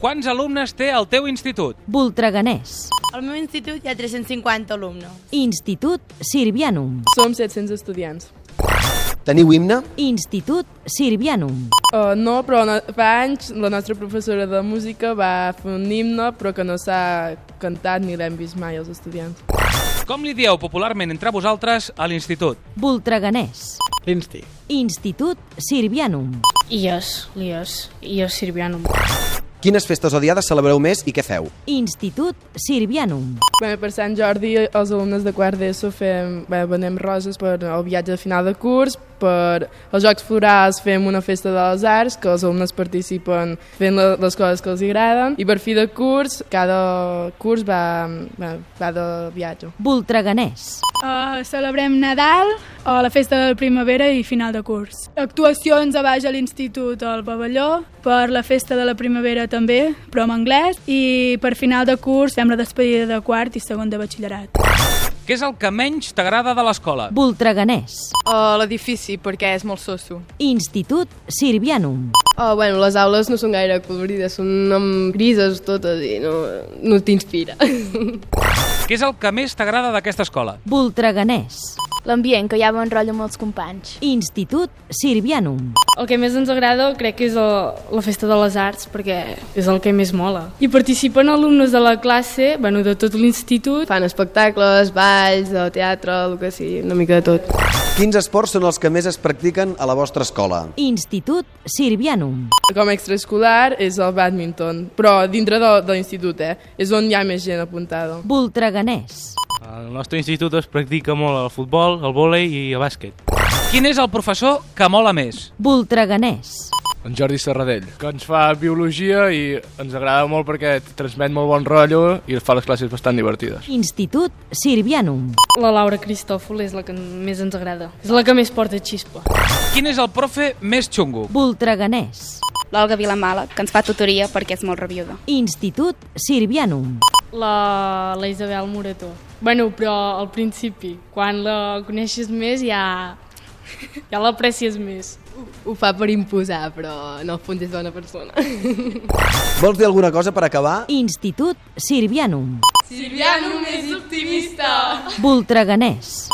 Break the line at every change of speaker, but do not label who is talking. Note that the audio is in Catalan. Quants alumnes té el teu institut?
Voltreganès.
Al meu institut hi ha 350 alumnes.
Institut Sirvianum.
Som 700 estudiants.
Teniu himne?
Institut Sirvianum.
Uh, no, però no, fa anys la nostra professora de música va fer un himne, però que no s'ha cantat ni l'hem vist mai els estudiants.
Com li dieu popularment entre vosaltres a l'institut?
Voltreganès.
L'Insti.
Institut Sirvianum.
IOS, l'IOS, IOS Sirvianum.
Quines festes odiades celebreu més i què feu?
Institut Sirvianum.
Bé, per Sant Jordi els alumnes de quart d'ESO fem, bé, venem roses per el viatge de final de curs, per els Jocs Florals fem una festa de les arts, que els alumnes participen fent la, les coses que els agraden, i per fi de curs, cada curs va, va, va de viatge.
Voltreganès.
Uh, celebrem Nadal, uh, la festa de primavera i final de curs. Actuacions a baix a l'institut al pavelló, per la festa de la primavera també, però en anglès, i per final de curs fem la despedida de quart i segon de batxillerat.
Què és el que menys t'agrada de l'escola?
Voltreganès.
Uh, L'edifici, perquè és molt sosso.
Institut Sirvianum.
Oh, bueno, les aules no són gaire colorides, són amb grises totes i no, no t'inspira.
Què és el que més t'agrada d'aquesta escola?
Voltreganès.
L'ambient, que hi ha bon rotllo amb els companys.
Institut Sirvianum.
El que més ens agrada crec que és el, la Festa de les Arts, perquè és el que més mola. Hi participen alumnes de la classe, bueno, de tot l'institut.
Fan espectacles, balls, de teatre, el que sigui, una mica de tot.
Quins esports són els que més es practiquen a la vostra escola?
Institut Sirvianum.
Com a extraescolar és el badminton, però dintre de, de l'institut, eh? És on hi ha més gent apuntada.
Voltreganès.
Al nostre institut es practica molt el futbol, el vòlei i el bàsquet.
Quin és el professor que mola més?
Voltreganès.
En Jordi Serradell, que ens fa biologia i ens agrada molt perquè transmet molt bon rotllo i fa les classes bastant divertides.
Institut Sirvianum.
La Laura Cristòfol és la que més ens agrada. És la que més porta xispa.
Quin és el profe més xungo?
Voltreganès.
L'Olga Vilamala, que ens fa tutoria perquè és molt rabiuda.
Institut Sirvianum.
La, la Isabel Morató. Bueno, però al principi, quan la coneixes més ja, ja l'aprecies més.
Ho fa per imposar, però en el fons és bona persona.
Vols dir alguna cosa per acabar?
Institut Sirvianum.
Silviano més optimista!
Voltreganès.